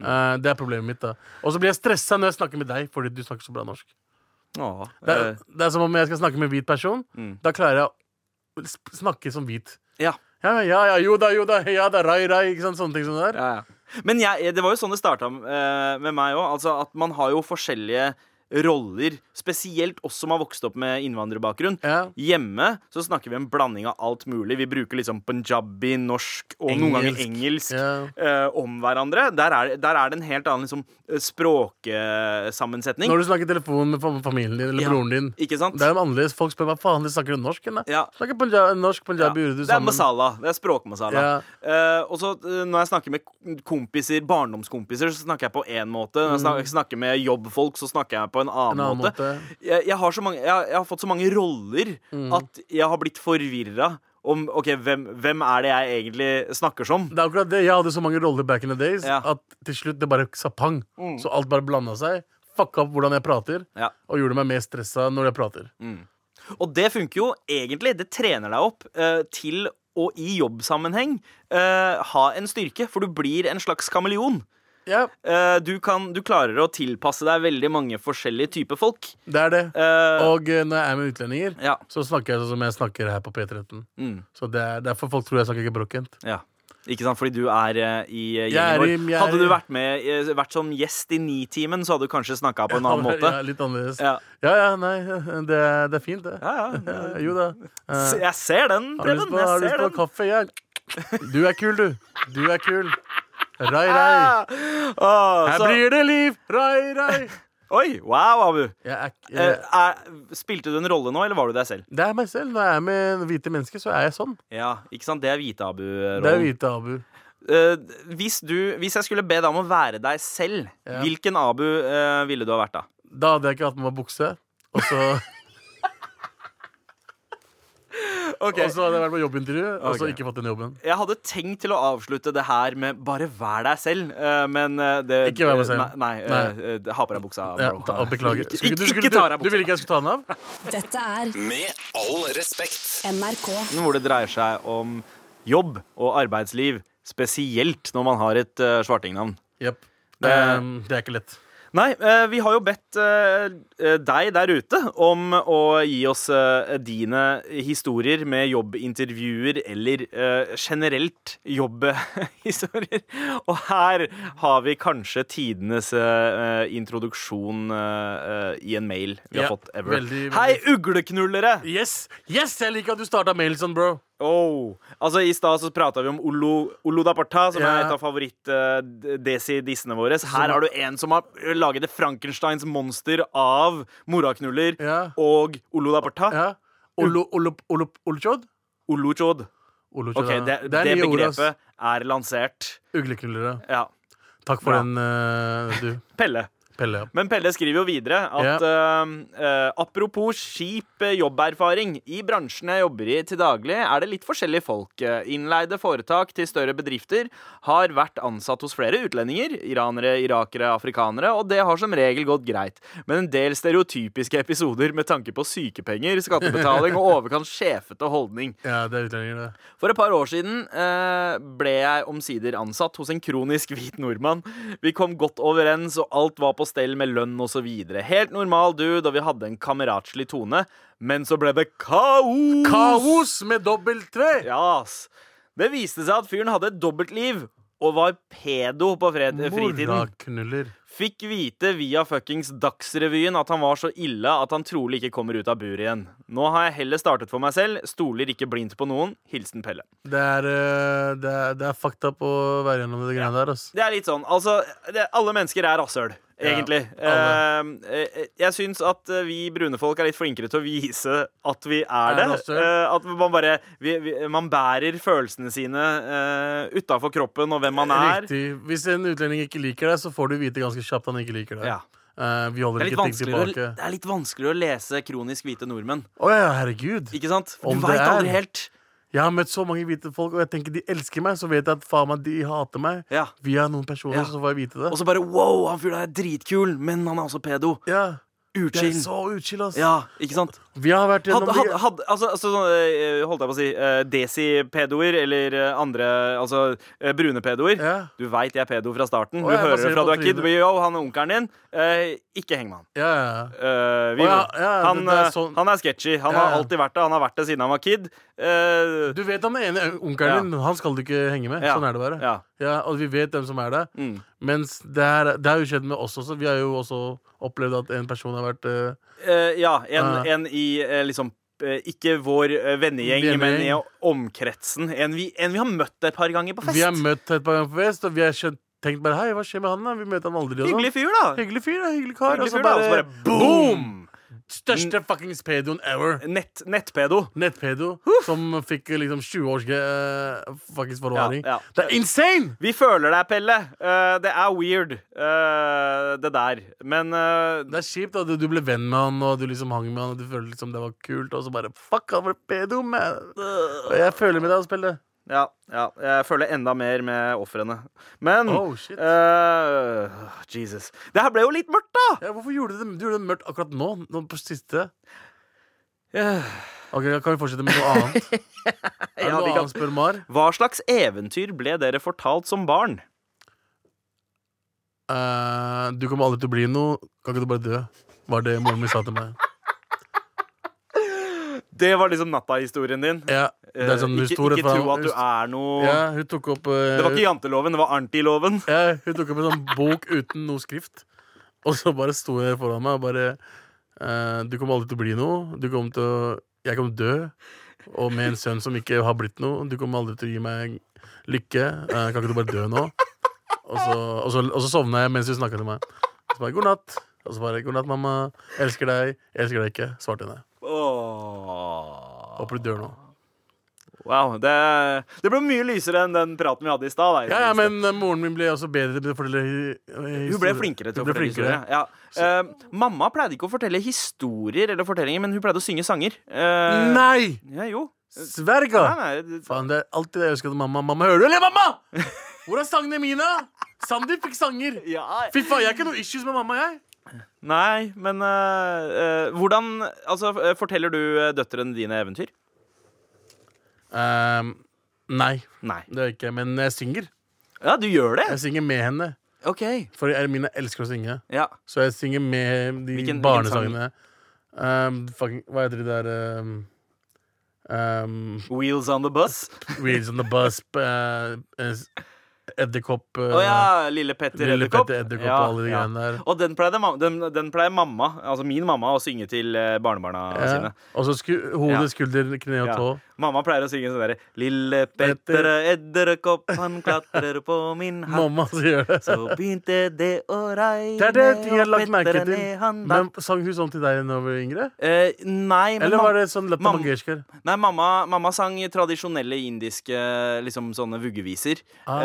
Eh, det er problemet mitt, da. Og så blir jeg stressa når jeg snakker med deg, fordi du snakker så bra norsk. Åh, Det er, eh, Mm. det er som om jeg skal snakke med en hvit person. Da klarer jeg å sp- snakke som hvit. ja. Ja, ja, ja, jo da, jo da, ja da, rai, rai, ikke sant, sånne ting som det er. Ja, ja. Men jeg, det var jo sånn det starta eh, med meg òg. Altså at man har jo forskjellige roller, spesielt oss som har vokst opp med innvandrerbakgrunn. Ja. Hjemme så snakker vi en blanding av alt mulig. Vi bruker liksom punjabi, norsk og Engelsk. noen ganger engelsk Ja. eh, om hverandre. Der er, der er det en helt annen liksom, eh, språksammensetning. Når du snakker i telefonen med fam- familien din eller Ja, broren din. Ikke sant? Det er jo annerledes, folk spør hva faen, de snakker du norsk, eller? Ja. Snakker punja- norsk, Ja, punjabi, urdu Det er sammen. masala. Det er språkmasala. Ja. Eh, og så eh, Når jeg snakker med k- kompiser, barndomskompiser, så snakker jeg på én måte. Når jeg snak- snakker med jobbfolk, så snakker jeg på en annen, Mm. En annen måte. Mm. Jeg, jeg, har så mange, jeg, jeg har fått så mange roller at jeg har blitt forvirra om ok, hvem, hvem er det jeg egentlig snakker som. Det er akkurat det. Jeg hadde så mange roller back in the days Ja. Mm. at til slutt det bare sa pang. Så alt bare blanda seg. Fucka opp hvordan jeg prater, Ja. Mm. og gjorde meg mer stressa når jeg prater. Og det funker jo egentlig. Det trener deg opp eh, til å i jobbsammenheng eh, ha en styrke, for du blir en slags kameleon. Ja, Eh, du, kan, du klarer å tilpasse deg veldig mange forskjellige typer folk. det er det. Eh, Og eh, når jeg er med utlendinger, Ja. så snakker jeg sånn som jeg snakker her på P13. Mm. Så det er derfor folk tror jeg snakker gebrokkent. ja. Ikke sant, fordi du er eh, i eh, Jeg er gjengen vår. i- jeg er Hadde du i- vært, med, eh, vært som gjest i Nitimen, så hadde du kanskje snakka på en annen måte. Ja, litt annerledes. Ja. Ja. ja, nei, det er, det er fint, det. Ja, ja. Eh, jo da. Eh, Se- Jeg ser den, har du lyst Preben. på, har du Jeg lyst ser på den. kaffe? Ja. Du er kul, du. Du er kul. Rai, rai. Ah, ah, Her så- blir det liv! Rai, rai. Oi, wow, Abu. Jeg er, ikke- Eh, jeg, er, spilte du en rolle nå, eller var du deg selv? Det er meg selv. Når jeg er med hvite mennesker, så er jeg sånn. Ja, ikke sant? Det er hvite Det er Abu-rollen. hvite Abu. Eh, hvis, du- hvis jeg skulle be deg om å være deg selv, Ja. hvilken Abu eh, ville du ha vært da? Da hadde jeg ikke hatt med meg bukse. Og så Ok. Og så hadde jeg vært på jobbintervju, og så Ok. ikke fått den jobben. Jeg hadde tenkt til å avslutte det her med 'bare vær deg selv', eh, men eh, det Ikke vær meg selv. Nei, nei, eh, eh, ha på deg buksa. Ja, bro. ta, beklager. Ikke, Skulle- ikke, du, skulle, ikke ta av deg du, du ville buksa. ikke jeg skulle ta den av? Dette er Med all respekt. NRK. Hvor det dreier seg om jobb og arbeidsliv, spesielt når man har et eh, svartingnavn. Jepp. Det, det er ikke lett. Nei, eh, vi har jo bedt eh, eh, deg der ute om å gi oss eh, dine historier med jobbintervjuer eller eh, generelt jobbhistorier. Og her har vi kanskje tidenes eh, eh, introduksjon eh, eh, i en mail vi Ja, har fått ever. veldig, veldig. Hei, ugleknullere! Yes! yes, Jeg liker at du starta mail sånn, bro. Oh. Altså, I stad så prata vi om Olo, Olo da Parta, som Ja. er et av eh, favoritt-desidissene våre. Her har du en som har eh, laget et Frankensteins monster av moraknuller Ja. og Olo da Parta. Ja. Olo, olo, olo, olochod? Olo Chod. Olochod, Ok, ja. det, det, er nye ord, ass. begrepet er lansert. Ugleknullere. Ja. Takk for Bra. den, eh, du. Pelle. Pelle. ja. Men Pelle skriver jo videre at eh, eh, apropos skip eh, jobberfaring. I bransjen jeg jobber i til daglig, er det litt forskjellige folk. Eh, Innleide foretak til større bedrifter har vært ansatt hos flere utlendinger. Iranere, irakere, afrikanere. Og det har som regel gått greit. Men en del stereotypiske episoder med tanke på sykepenger, skattebetaling og overkant sjefete holdning. Ja, det er utlendinger, det. For et par år siden eh, ble jeg omsider ansatt hos en kronisk hvit nordmann. Vi kom godt overens, og alt var på stell med lønn osv. Helt normal dude, og vi hadde en kameratslig tone. Men så ble det kaos! Kaos med dobbelt tre! Ja, ass. Det viste seg at fyren hadde et dobbeltliv og var pedo på fred fritiden. Moraknuller. Fikk vite via fuckings Dagsrevyen at han var så ille at han trolig ikke kommer ut av buret igjen. Nå har jeg heller startet for meg selv. Stoler ikke blindt på noen. Hilsen Pelle. Det er, eh, det, er, det er fucked up å være gjennom det greiene der, ass. Det er litt sånn, altså det, Alle mennesker er rasshøl, Ja, egentlig. Eh, eh, jeg syns at eh, vi brune folk er litt flinkere til å vise at vi er, Er det. rasshøl. Eh, at man bare vi, vi, Man bærer følelsene sine uh, utafor kroppen og hvem man er. Riktig. Hvis en utlending ikke liker deg, så får du vite ganske kjapt han ikke liker deg. Ja. Eh, vi Det holder er, litt ikke ting vanskeligere, å- tilbake. det er litt vanskeligere å lese kronisk hvite nordmenn. Å ja, herregud. Ikke sant? For Om du det veit er. aldri helt. Jeg har møtt så mange hvite folk, og jeg tenker de elsker meg. Så vet jeg at faen meg, de hater meg. Ja. Via noen personer, Ja. så får jeg vite det. Og så bare wow, han fyren er dritkul, men han er også pedo. ja. Det er Uchill. så utskill, ass. Ja, ikke sant? Vi har vært Hadde, gjennom hadde, hadde, altså, altså, sånn, eh, holdt jeg på å si eh, desipedoer eller eh, andre altså, eh, brune pedoer. Ja. Du veit jeg er pedo fra starten. Å, du jeg hører det baserer fra du på er kid. trynet. Yo, han er onkelen din. Eh, ikke heng med han. Ja, ja. Eh, vi, Å, ja, ja, han, det- det er eh, sånn- han er sketchy. Han Ja, har ja. alltid vært det. Han har vært det siden han var kid. Eh, Du vet han ene onkelen Ja. din, han skal du ikke henge med. Ja. Sånn er det bare. Ja. og vi vet hvem som er det. Mm. Mens det, er, det har jo skjedd med oss også. Vi har jo også opplevd at en person har vært eh, eh, ja, en, Ja. en i eh, liksom eh, ikke vår eh, vennegjeng, Vennegjeng. men i omkretsen. En vi, en vi har møtt et par ganger på fest. Vi har møtt et par ganger på fest, og vi har skjønt, tenkt bare Hei, hva skjer med han? da? Vi møter han aldri. og sånn.» Hyggelig fyr, da. hyggelig fyr, altså da. Hyggelig kar. Hyggelig og så fyr, da. Og så bare boom! Største fuckings pedoen ever. Nett, nettpedo. Nettpedo som fikk liksom 20 års eh, fuckings forvaring. Ja, ja. Det er insane! Vi føler deg, Pelle. Eh, det er weird, eh, det der. Men eh, Det er kjipt at du, du ble venn med han, og du liksom hang med han, og du følte liksom det var kult, og så bare Fuck, han var pedo, man! Og jeg føler med deg, Pelle. ja, ja, jeg føler enda mer med ofrene. Men Oh, shit. eh, Jesus. Det her ble jo litt mørkt, da! Ja, hvorfor gjorde du det? Du gjorde det mørkt akkurat nå, nå på siste. Eh, Ok, Kan vi fortsette med noe annet? Er det Ja, noe vi kan- annet, spør Mar? Hva slags eventyr ble dere fortalt som barn? Eh, du kommer aldri til å bli noe. Kan ikke du bare dø? Var det moren min sa til meg. Det var liksom natta-historien din. Ja, det er Eh, sånn ikke historie ikke fra- tro at du er noe Ja, hun tok opp eh, Det var ikke janteloven, det var antiloven. ja, Hun tok opp en sånn bok uten noe skrift. Og så bare sto hun foran meg og bare eh, Du kommer aldri til å bli noe. Du kommer til å Jeg kommer til å dø. Og med en sønn som ikke har blitt noe. Du kommer aldri til å gi meg lykke. Eh, kan ikke du bare dø nå? Og så, og så, og så sovna jeg mens hun snakka til meg. Og så bare god natt. Og så bare god natt, mamma. Elsker deg. Elsker deg ikke. Svarte hun. Åh. Håper du dør nå. Wow, det, det ble mye lysere enn den praten vi hadde i stad. da, i Ja, ja, minste. men eh, moren min ble også bedre til å fortelle eh, Hun ble historier. flinkere til Hun å ble fortelle flinkere. historier. Ja. Eh, mamma pleide ikke å fortelle historier eller fortellinger, men hun pleide å synge sanger. Eh, Nei! Ja, jo. Sverga! Nei, nei, det- Faen, det er alltid det jeg ønsker til mamma. Mamma, hører du, eller, mamma? Hvor er sangene mine? Sandeep fikk sanger. Ja. Fy faen, jeg har ikke noe issues med mamma, jeg. Nei, men eh, eh, hvordan Altså, f- forteller du eh, døtrene dine eventyr? Ehm, nei, Nei. det er ikke jeg, men jeg synger. Ja, du gjør det? Jeg synger med henne. OK. For Ermine elsker å synge. Ja. Så jeg synger med de Hvilken- hvilken barnesangene. Ehm, fucking, hva heter de der ehm, ehm, Wheels on the bus. Wheels on the bus eh, eh, Edderkopp Å ja, Lille Petter Lille Edderkopp. Petter Edderkopp Ja, og alle de ja. greiene der. Og den pleier, mam- den, den pleier mamma, altså min mamma, å synge til eh, barnebarna Ja. sine. Og så sku, hode, Ja. skulder, kne og Ja. tå. Mamma pleier å synge sånn derre Lille Petter Edderkopp, han klatrer på min hatt. Mamma som gjør det. Så begynte det å regne, Det er det ting jeg har og lagt merke Petter til. ned han datt. Men sang hun sånn til deg da du var yngre? Eh, nei, men Eller mam- var det sånn Latta mam- Mangeshkar? Nei, mamma, mamma sang tradisjonelle indiske liksom sånne vuggeviser. Ah.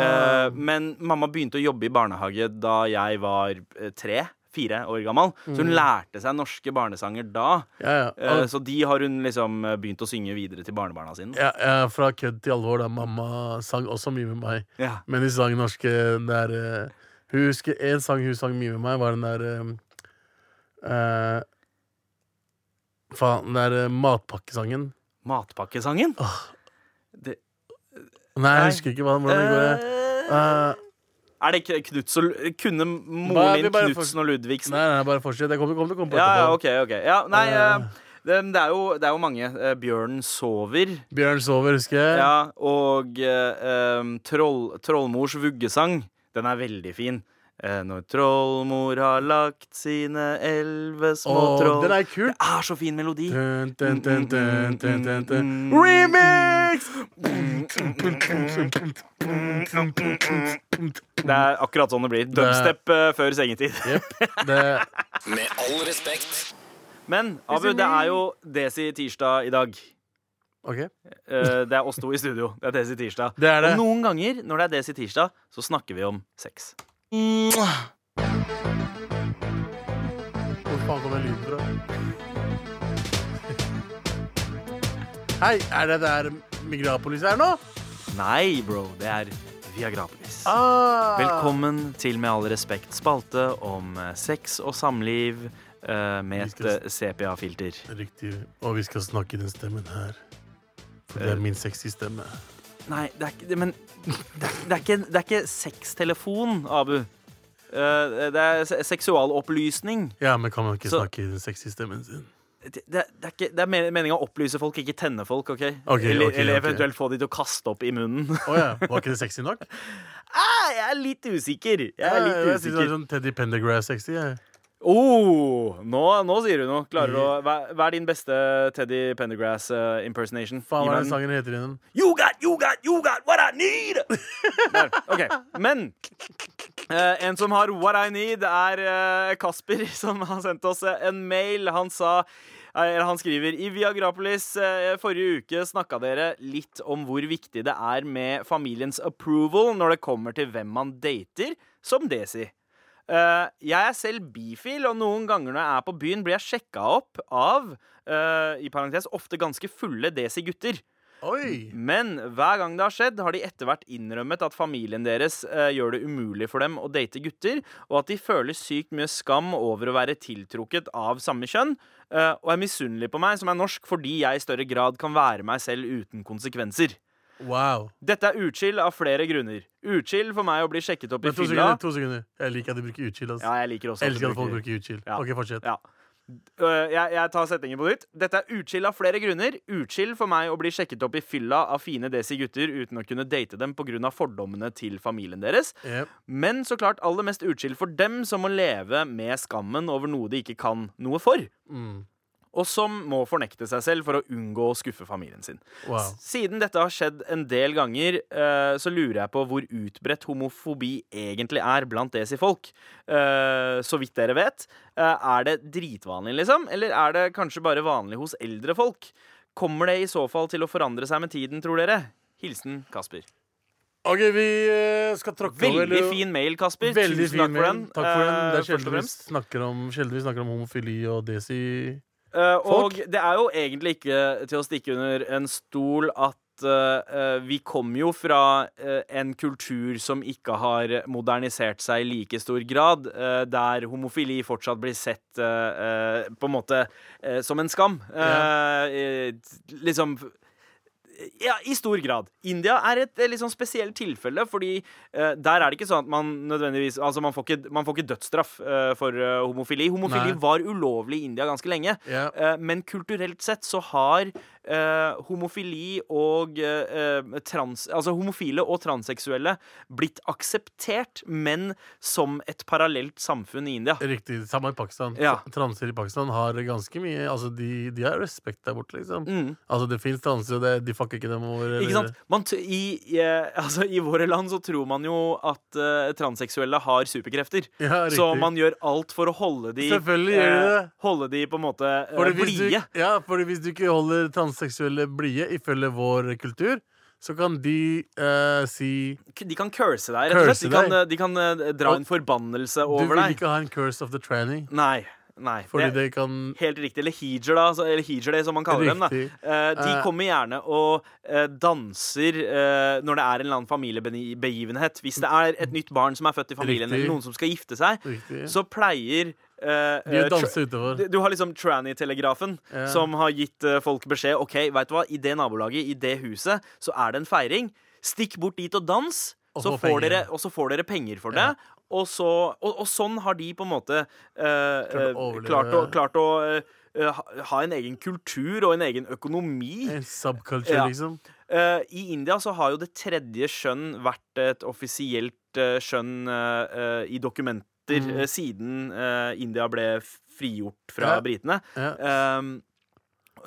Eh, men mamma begynte å jobbe i barnehage da jeg var eh, tre, fire år gammel. Så hun lærte seg norske barnesanger da. Ja, ja. Eh, Mm. Og- så de har hun liksom eh, begynt å synge videre til barnebarna sine. ja, ja, fra kødd til alvor, da. Mamma sang også mye med meg. Ja. Men de sang norske der eh, Hun husker en sang hun sang mye med meg, var den der eh, eh, Faen, den der eh, matpakkesangen. Matpakkesangen. Det, Nei, Nei. jeg husker ikke hva, hvordan det går. Eh, Eh, er det ikke Knutsen og Kunne Bare- moren vi min bare får- Knutsen og Ludvigsen? nei, nei, bare fortsett. Jeg kommer kommer til å komme på Ja, ja, etterpå. OK. ok ja, Nei, Eh. eh, det, det, er jo, det er jo mange. Eh, Bjørnen sover. Bjørn sover, husker jeg. Ja, og eh, em, troll, Trollmors vuggesang. Den er veldig fin. Eh, når trollmor har lagt sine elleve Åh, små troll den er kul. Det er så fin melodi! Dun, dun, dun, dun, dun, dun, dun. Mm. Remix! Det er akkurat sånn det blir. Dubstep eh, før sengetid. Jepp. Det, Med all respekt. Men Abu, det er jo Desi tirsdag i dag. ok. Eh, det er oss to i studio. Det er Desi tirsdag. Det er det. Og noen ganger når det er Desi tirsdag, så snakker vi om sex. Hvor faen kom den lyden fra? Hei, er det der Migrapolis er nå? Nei, bro. Det er Viagrapolis. Ah. Velkommen til Med all respekt spalte om eh, sex og samliv eh, med Vi et skal s- eh, CPA-filter. Riktig. Og vi skal snakke i den stemmen her. For Eh. det er min sexy stemme. Nei, det er ikke det, Men det er, det er ikke, det er ikke sextelefon, Abu. Eh, det er se- seksualopplysning. Ja, men kan man ikke Så- snakke i den sexy stemmen sin? Det, det, er- det er, ikke- det er meninga å opplyse folk, ikke tenne folk. ok? Ok, eller, ok, eller ok. eventuelt få de til å kaste opp i munnen. Å ja. Var ikke det sexy nok? Ah, jeg er litt usikker. Jeg er Ja, litt jeg synes det var usikker. sånn Teddy Pendergrass-sexy. jeg. Oh, nå, nå sier du noe. Klarer du å, hva, hva er din beste Teddy Pendergrass eh, impersonation? Faen, hva er Gi meg den. den sangen heter igjen? You got, you got, you got what I need! Der, ok, Men eh, en som har what I need, er eh, Kasper, som har sendt oss eh, en mail. Han sa eh, eller han skriver I Viagrapolis eh, forrige uke snakka dere litt om hvor viktig det er med familiens approval når det kommer til hvem man dater, som Desi. Eh, jeg er selv bifil, og noen ganger når jeg er på byen, blir jeg sjekka opp av eh, i parentes, ofte ganske fulle Desi-gutter. Oi! Men hver gang det har skjedd, har de etter hvert innrømmet at familien deres eh, gjør det umulig for dem å date gutter, og at de føler sykt mye skam over å være tiltrukket av samme kjønn, eh, og er misunnelig på meg som er norsk fordi jeg i større grad kan være meg selv uten konsekvenser. Wow. Dette er uchill av flere grunner. Uchill for meg å bli sjekket opp i Men to fylla. sekunder. to sekunder Jeg liker at de bruker utskill. Altså. Ja, jeg liker også at du Elsker at folk bruker- bruker utskill. Ja. Ok, fortsett. Ja. Øh, Jeg, jeg tar setningen på nytt. Dette er utskill av flere grunner. Utskill for meg å bli sjekket opp i fylla av fine desi-gutter uten å kunne date dem pga. fordommene til familien deres. Yep. Men så klart aller mest utskill for dem som må leve med skammen over noe de ikke kan noe for. Mm. Og som må fornekte seg selv for å unngå å skuffe familien sin. Wow. Siden dette har skjedd en del ganger, eh, så lurer jeg på hvor utbredt homofobi egentlig er blant desi-folk. Eh, så vidt dere vet, eh, er det dritvanlig, liksom? Eller er det kanskje bare vanlig hos eldre folk? Kommer det i så fall til å forandre seg med tiden, tror dere? Hilsen Kasper. Ok, vi eh, skal tråkke over Veldig fin mail, Kasper. Veldig Tusen fin takk for mail. den. Takk for den. eh, Det er først og sjelden vi fremst. snakker om, sjelden vi snakker om homofili og desi Eh, og det er jo egentlig ikke til å stikke under en stol at eh, eh, vi kommer jo fra eh, en kultur som ikke har modernisert seg i like stor grad, eh, der homofili fortsatt blir sett eh, eh, på en måte eh, som en skam. Eh, eh, liksom ja, i stor grad. India er et eh, litt sånn spesielt tilfelle, fordi eh, der er det ikke sånn at man nødvendigvis Altså, man får ikke, man får ikke dødsstraff eh, for eh, homofili. Nei. Homofili var ulovlig i India ganske lenge, Ja. eh, men kulturelt sett så har eh, homofili og eh, eh, trans... Altså homofile og transseksuelle blitt akseptert, men som et parallelt samfunn i India. Riktig. Samme i Pakistan. Ja. Tra- Transer i Pakistan har ganske mye Altså, de, de har respekt der borte, liksom. Mm. Altså, det fins transer, og det, de fucker ikke dem over. eller- Ikke sant? Man t i, i, eh, altså, I våre land så tror man jo at eh, transseksuelle har superkrefter. Ja, riktig. så man gjør alt for å holde de eh, Selvfølgelig gjør de det. Holde de på en måte eh, Fordi hvis blide. Du, ja, fordi hvis du ikke holder transseksuelle blide ifølge vår kultur, så kan de eh, si K- De kan curse deg, rett og Curse slett. De kan, deg. eh, de kan eh, dra Og en forbannelse Du over vil deg. ikke ha en curse of the tranny. Nei. Nei. Fordi det- det kan Helt riktig. Eller hijer, da. så- Eller hijer det, som man kaller dem. Riktig. da Eh, De Eh. kommer gjerne og eh, danser eh, når det er en eller annen familiebegivenhet. Hvis det er et nytt barn som er født i familien, Riktig. eller noen som skal gifte seg, Riktig. så pleier eh, De eh, danser tra- utover. du- du har liksom Tranny-telegrafen, Ja. som har gitt eh, folk beskjed Ok, vet du hva, i det nabolaget, i det huset, så er det en feiring. Stikk bort dit og dans, Og så få får penger. dere, og så får dere penger for Ja. det. Og, så, og, og sånn har de på en måte eh, eh, å overleve. klart å, klart å eh, eh, ha- ha en egen kultur og en egen økonomi. En subculture, Ja. liksom. Eh, I India så har jo det tredje skjønn vært et offisielt eh, skjønn eh, eh, i dokumenter Mm. eh, siden eh, India ble f- frigjort fra Ja. britene. Ja. Ehm,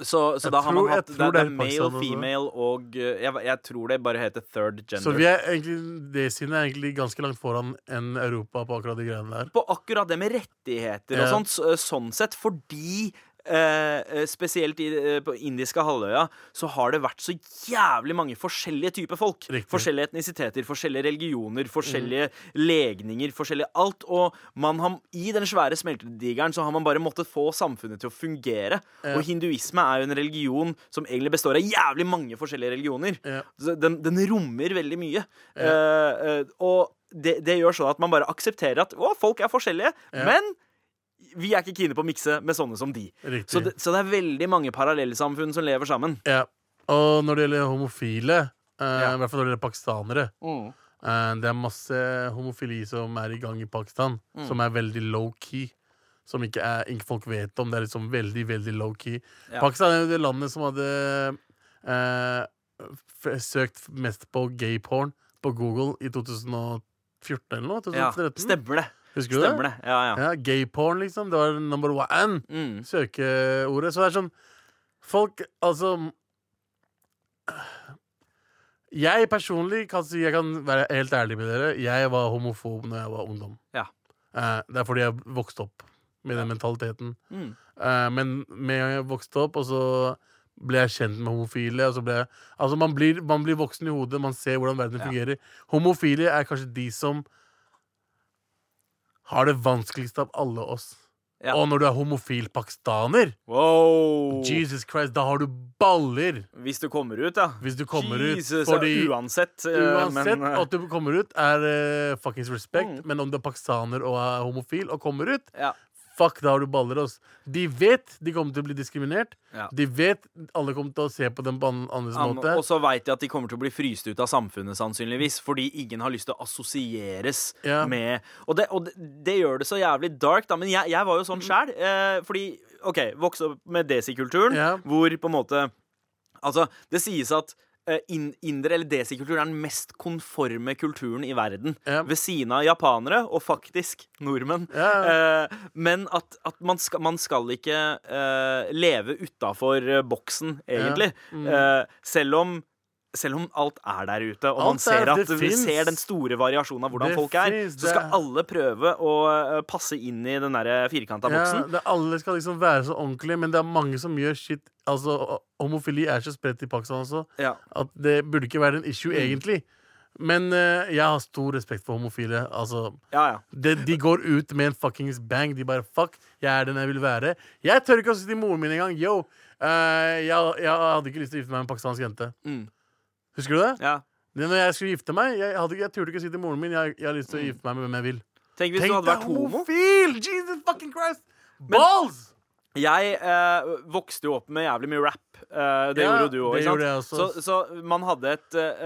så så Jeg da har tror- man jeg hatt det, tror det det er er i male, Pakistan også. female og eh, jeg, jeg tror det bare heter third gender. Så vi er egentlig, det synet er egentlig ganske langt foran enn Europa på akkurat de greiene der. på akkurat det med rettigheter og Ja. sånt, så- sånn sett, fordi eh, eh, spesielt i, eh, på indiske halvøya så har det vært så jævlig mange forskjellige typer folk. Riktig. Mhm. Forskjellige etnisiteter, forskjellige religioner, forskjellige legninger, forskjellig alt. Og man har, i den svære smeltedigeren så har man bare måttet få samfunnet til å fungere. Og hinduisme er jo en religion som egentlig består av jævlig mange forskjellige religioner. Ja. Så Den, den rommer veldig mye. Eh, eh, og det, det gjør sånn at man bare aksepterer at å, folk er forskjellige, men vi er ikke kine på å mikse med sånne som de. Riktig. Så det, så det er veldig mange parallellsamfunn som lever sammen. Ja. Og når det gjelder homofile, eh, Ja. i hvert fall når det gjelder pakistanere eh, Det er masse homofili som er i gang i Pakistan, Mm. som er veldig low-key. Som ikke, er, ikke folk vet om. Det er liksom veldig, veldig low-key. Ja. Pakistan er jo det landet som hadde eh, f søkt mest på gay porn på Google i 2014 eller noe? Ja, 2013? stemmer det. Husker du Stemmer det. Ja, ja. Ja, gay porn, liksom. Det var number one Mm. søkeordet. Så det er sånn Folk, altså Jeg personlig kan si Jeg kan være helt ærlig med dere. Jeg var homofob når jeg var ungdom. Ja. Eh, det er fordi jeg vokste opp med den mentaliteten. Mm. Eh, men med en gang jeg vokste opp, og så ble jeg kjent med homofile og så ble jeg, Altså man blir, man blir voksen i hodet, man ser hvordan verden Ja. fungerer. Homofile er kanskje de som har det vanskeligst av alle oss. Ja. Oh. Og når du er homofil pakistaner, Wow! Jesus Christ, da har du baller! Hvis du kommer ut, ja. Hvis du kommer ut, Jesus, fordi- ja, Uansett. eh, Uansett men, eh, at du kommer ut, er eh, fuckings respekt. Mm. Men om du er pakistaner og er homofil og kommer ut, ja. fuck, da har du baller. Ass. De vet de kommer til å bli diskriminert. Ja. De vet alle kommer til å se på dem på an andres An- måte. Og så veit de at de kommer til å bli fryst ut av samfunnet, sannsynligvis. Fordi ingen har lyst til å assosieres Ja. med Og, det, og det, det gjør det så jævlig dark, da. Men jeg, jeg var jo Mm. sånn sjæl. Eh, fordi, OK, vokste opp med desikulturen, Ja. hvor på en måte Altså, det sies at eh, in- Indre eller desikultur er den mest konforme kulturen i verden. Ja. Ved siden av japanere, og faktisk nordmenn. Ja, Eh, men at, at man, skal, man skal ikke eh, leve utafor eh, boksen, egentlig. Mm. Eh, selv om selv om alt er der ute, og man Alt ser er- at det vi finnes. ser den store variasjonen av hvordan Det folk er, finnes, så skal det- alle prøve å eh, passe inn i den der eh, firkanta ja, boksen. det, alle skal liksom være så ordentlige, men det er mange som gjør shit. Altså, o- Homofili er så spredt i Pakistan også Ja. Mm. at det burde ikke være en issue, egentlig. Men eh, jeg har stor respekt for homofile. Altså, Ja, ja. de, de går ut med en fuckings bang. De bare fuck, jeg er den jeg vil være. Jeg tør ikke å si til moren min engang yo, eh, jeg, jeg hadde ikke lyst til å gifte meg med en pakistansk jente. Mm. Husker du det? ja. Det er Når jeg skulle gifte meg, jeg, hadde, ikke- jeg turte ikke å si til moren min jeg, jeg har lyst til å gifte meg med hvem jeg vil. Tenk Mm. hvis Tenk du hadde vært deg homo. homofil! Jesus fucking Christ! Balls! Jeg eh, vokste jo opp med jævlig mye rap. Eh, det Ja, gjorde jo du òg. det ikke gjorde jeg sant? Så, også. så man hadde et eh,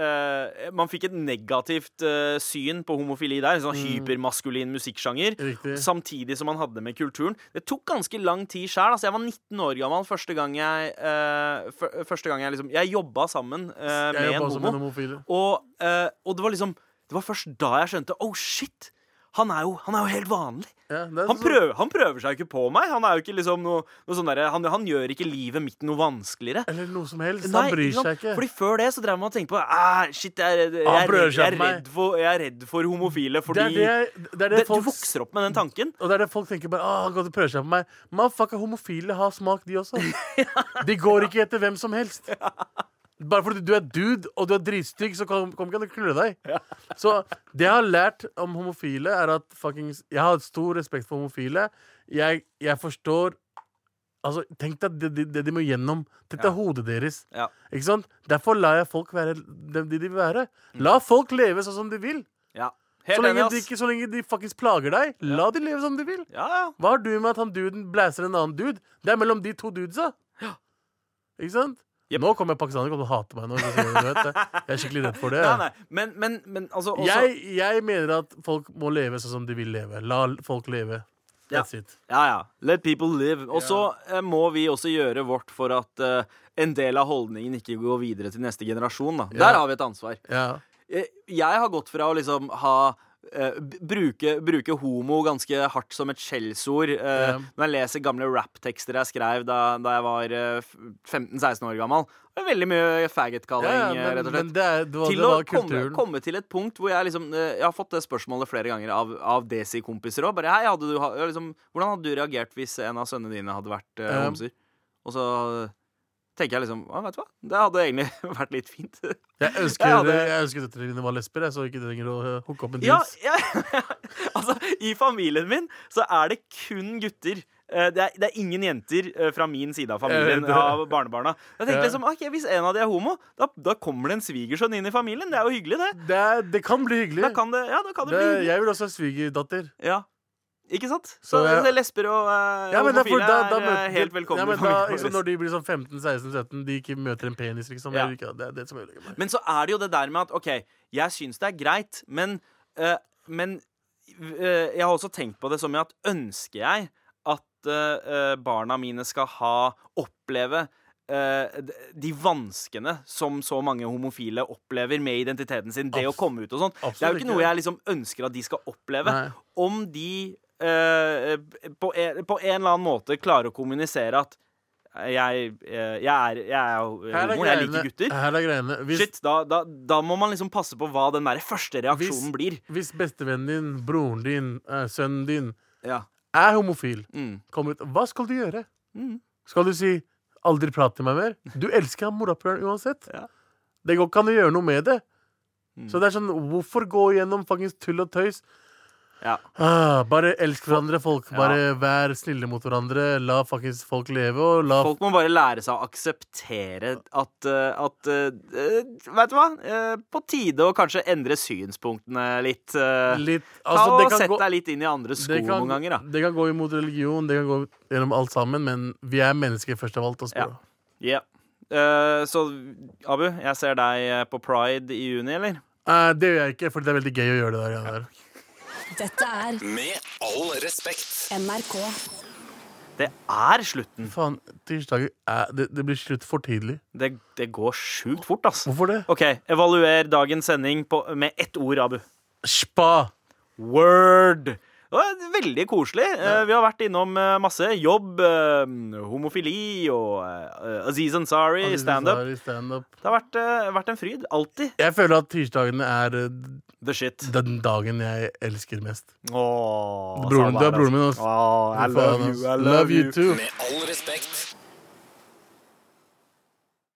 eh, Man fikk et negativt eh, syn på homofili der. En sånn hypermaskulin musikksjanger. Mm. Riktig. Samtidig som man hadde det med kulturen. Det tok ganske lang tid sjøl. Altså, jeg var 19 år gammel første gang jeg eh, fyr- Første gang jeg liksom Jeg jobba sammen eh, jeg med en jobba også homo. med en homofil. Og, eh, og det var liksom Det var først da jeg skjønte Oh shit! Han er jo, han er jo helt vanlig. Ja, det er Han sånn- prøver, han prøver seg jo ikke på meg. Han er jo ikke liksom noe, noe sånn derre- han, han gjør ikke livet mitt noe vanskeligere. Eller noe som helst. Nei, han bryr ikke sant? seg ikke. Fordi Før det så drev man og tenkte på ah, Shit, jeg, er- jeg, er Han prøver redd, jeg, seg er på meg. redd for, jeg er redd for homofile det fordi er det, jeg- det, er det, det, folk Du vokser opp med den tanken. Og det er det folk tenker bare Åh, godt å prøve seg på meg Motherfucker, homofile har smak de også De går ikke etter hvem som helst Bare fordi du er dude Og du er dritstygg Så kom, kom ikke han og knulle deg Så det jeg har lært om homofile Er at fucking Jeg har stor respekt for homofile Jeg, jeg forstår Altså, tenk deg det, det, det de må gjennom Tenk deg hodet deres Ja. Ikke sant? Derfor lar jeg folk være dem de de vil være La folk leve sånn som de vil Ja, så Mm. Helt enig, lenge, de ass. ikke, så lenge de faktisk plager deg La de leve som de vil Ja, ja. hva har du med at han duden blæser en annen dude? Det er mellom de to dudesa. Ikke sant? Jep. Nå kommer pakistanere kommer til å hate meg. nå så sier jeg, vet, det. jeg er skikkelig redd for det. Nei, nei. Men, men, men altså også, jeg, jeg mener at folk må leve sånn som de vil leve. La folk leve. Ja. That's it. Ja, ja. Let people live. Og så eh, må vi også gjøre vårt for at eh, en del av holdningen ikke går videre til neste generasjon. Da. Der har vi et ansvar. Ja. Eh, Jeg har gått fra å liksom ha eh, b- bruke, bruke homo ganske hardt som et skjellsord. eh, Ja. Når jeg leser gamle rapptekster jeg skrev da, da jeg var eh, f- 15-16 år gammel. Det er veldig mye Ja, faggot-calling, ja, eh, men, rett og slett men det, er, det, var, til det å var komme, kulturen. komme til et punkt hvor jeg liksom eh, Jeg har fått det spørsmålet flere ganger av, av Desi-kompiser òg. Bare hei, hadde du ha- ja, liksom, hvordan hadde du reagert hvis en av sønnene dine hadde vært eh, Ja. homser? Og så eh, tenker jeg liksom ja, vet du hva? Det hadde egentlig vært litt fint. Jeg ønsker, Ja, det- jeg ønsker døtrene mine var lesber, jeg, så ikke de trenger å eh, hooke opp en ja, dils. ja, altså, i familien min så er det kun gutter. Eh, Det er, det er ingen jenter eh, fra min side av Jeg familien, vet det. av barnebarna. Jeg tenkte Ja. liksom, ok, Hvis en av de er homo, da, da kommer det en svigersønn inn i familien. Det er jo hyggelig, det. Det, er, det kan bli hyggelig. Da kan det, ja, da kan det, det, bli hyggelig. jeg vil også ha svigerdatter. Ja. Ikke sant? Så, Så jeg- det er lesber og eh, Ja, men det er for- homofile da- da er møter- eh, helt velkomne. ja, men da, i familien ikke sant, vår. Når de blir sånn 15-16-17, de ikke møter en penis, liksom. Ja. Jeg, vil ikke ha- det er det som ødelegger meg. Men så er det jo det der med at OK, jeg syns det er greit, men, eh, men eh, jeg har også tenkt på det som i at ønsker jeg at eh, eh, barna mine skal ha oppleve eh, d- de vanskene som så mange homofile opplever med identiteten sin, det Abs- å komme ut og sånt. Det er absolutt jo ikke. ikke noe jeg liksom ønsker at de skal oppleve. Nei. Om de eh, på, en, på en eller annen måte klarer å kommunisere at jeg, eh, jeg er, jeg Eh, er jo Her er homo, jeg liker greiene- gutter. Her er greiene. Hvis, Shit, da, da, da må man liksom passe på hva den der første Hvis- reaksjonen blir. hvis bestevennen din, broren din, eh, sønnen din Ja. er homofil, Mm. kommer ut, hva skal du gjøre? Mm. Skal du si 'aldri prat til meg mer'? Du elsker ham morapuleren uansett. Ja. Det går ikke an å gjøre noe med det. Mm. Så det er sånn, hvorfor gå igjennom fuckings tull og tøys? Ja. Ah, bare elsk hverandre, folk. Ja. Bare vær snille mot hverandre. La fuckings folk leve, og la Folk må bare lære seg å akseptere at, eh, at eh, Vet du hva? Eh, på tide å kanskje endre synspunktene litt. eh. litt Ta altså, det og kan Sett gå- deg litt inn i andres sko det kan, noen ganger, da. Det kan gå imot religion, det kan gå gjennom alt sammen, men vi er mennesker først av alt. Altså, Ja. bro. Ja. Eh, så Abu, jeg ser deg eh, på pride i juni, eller? Eh, det gjør jeg ikke, for det er veldig gøy å gjøre det der. greiene der. Dette er Med all respekt. NRK. Det er slutten. Faen, tirsdager er, det, det blir slutt for tidlig. Det, det går sjukt fort, ass. Hvorfor det? OK, evaluer dagens sending på, med ett ord, Abu. Spa! Word! Det var veldig koselig. Eh, Vi har vært innom eh, masse jobb, eh, homofili og eh, Aziz Ansari, standup. Stand Det har vært, eh, vært en fryd. Alltid jeg føler at tirsdagene er eh, the shit. den dagen jeg elsker mest. Åh, Broren- Salvador, det er broren min, altså. ass. Åh, I Faen, love ass. you, I love you. too. Med all respekt.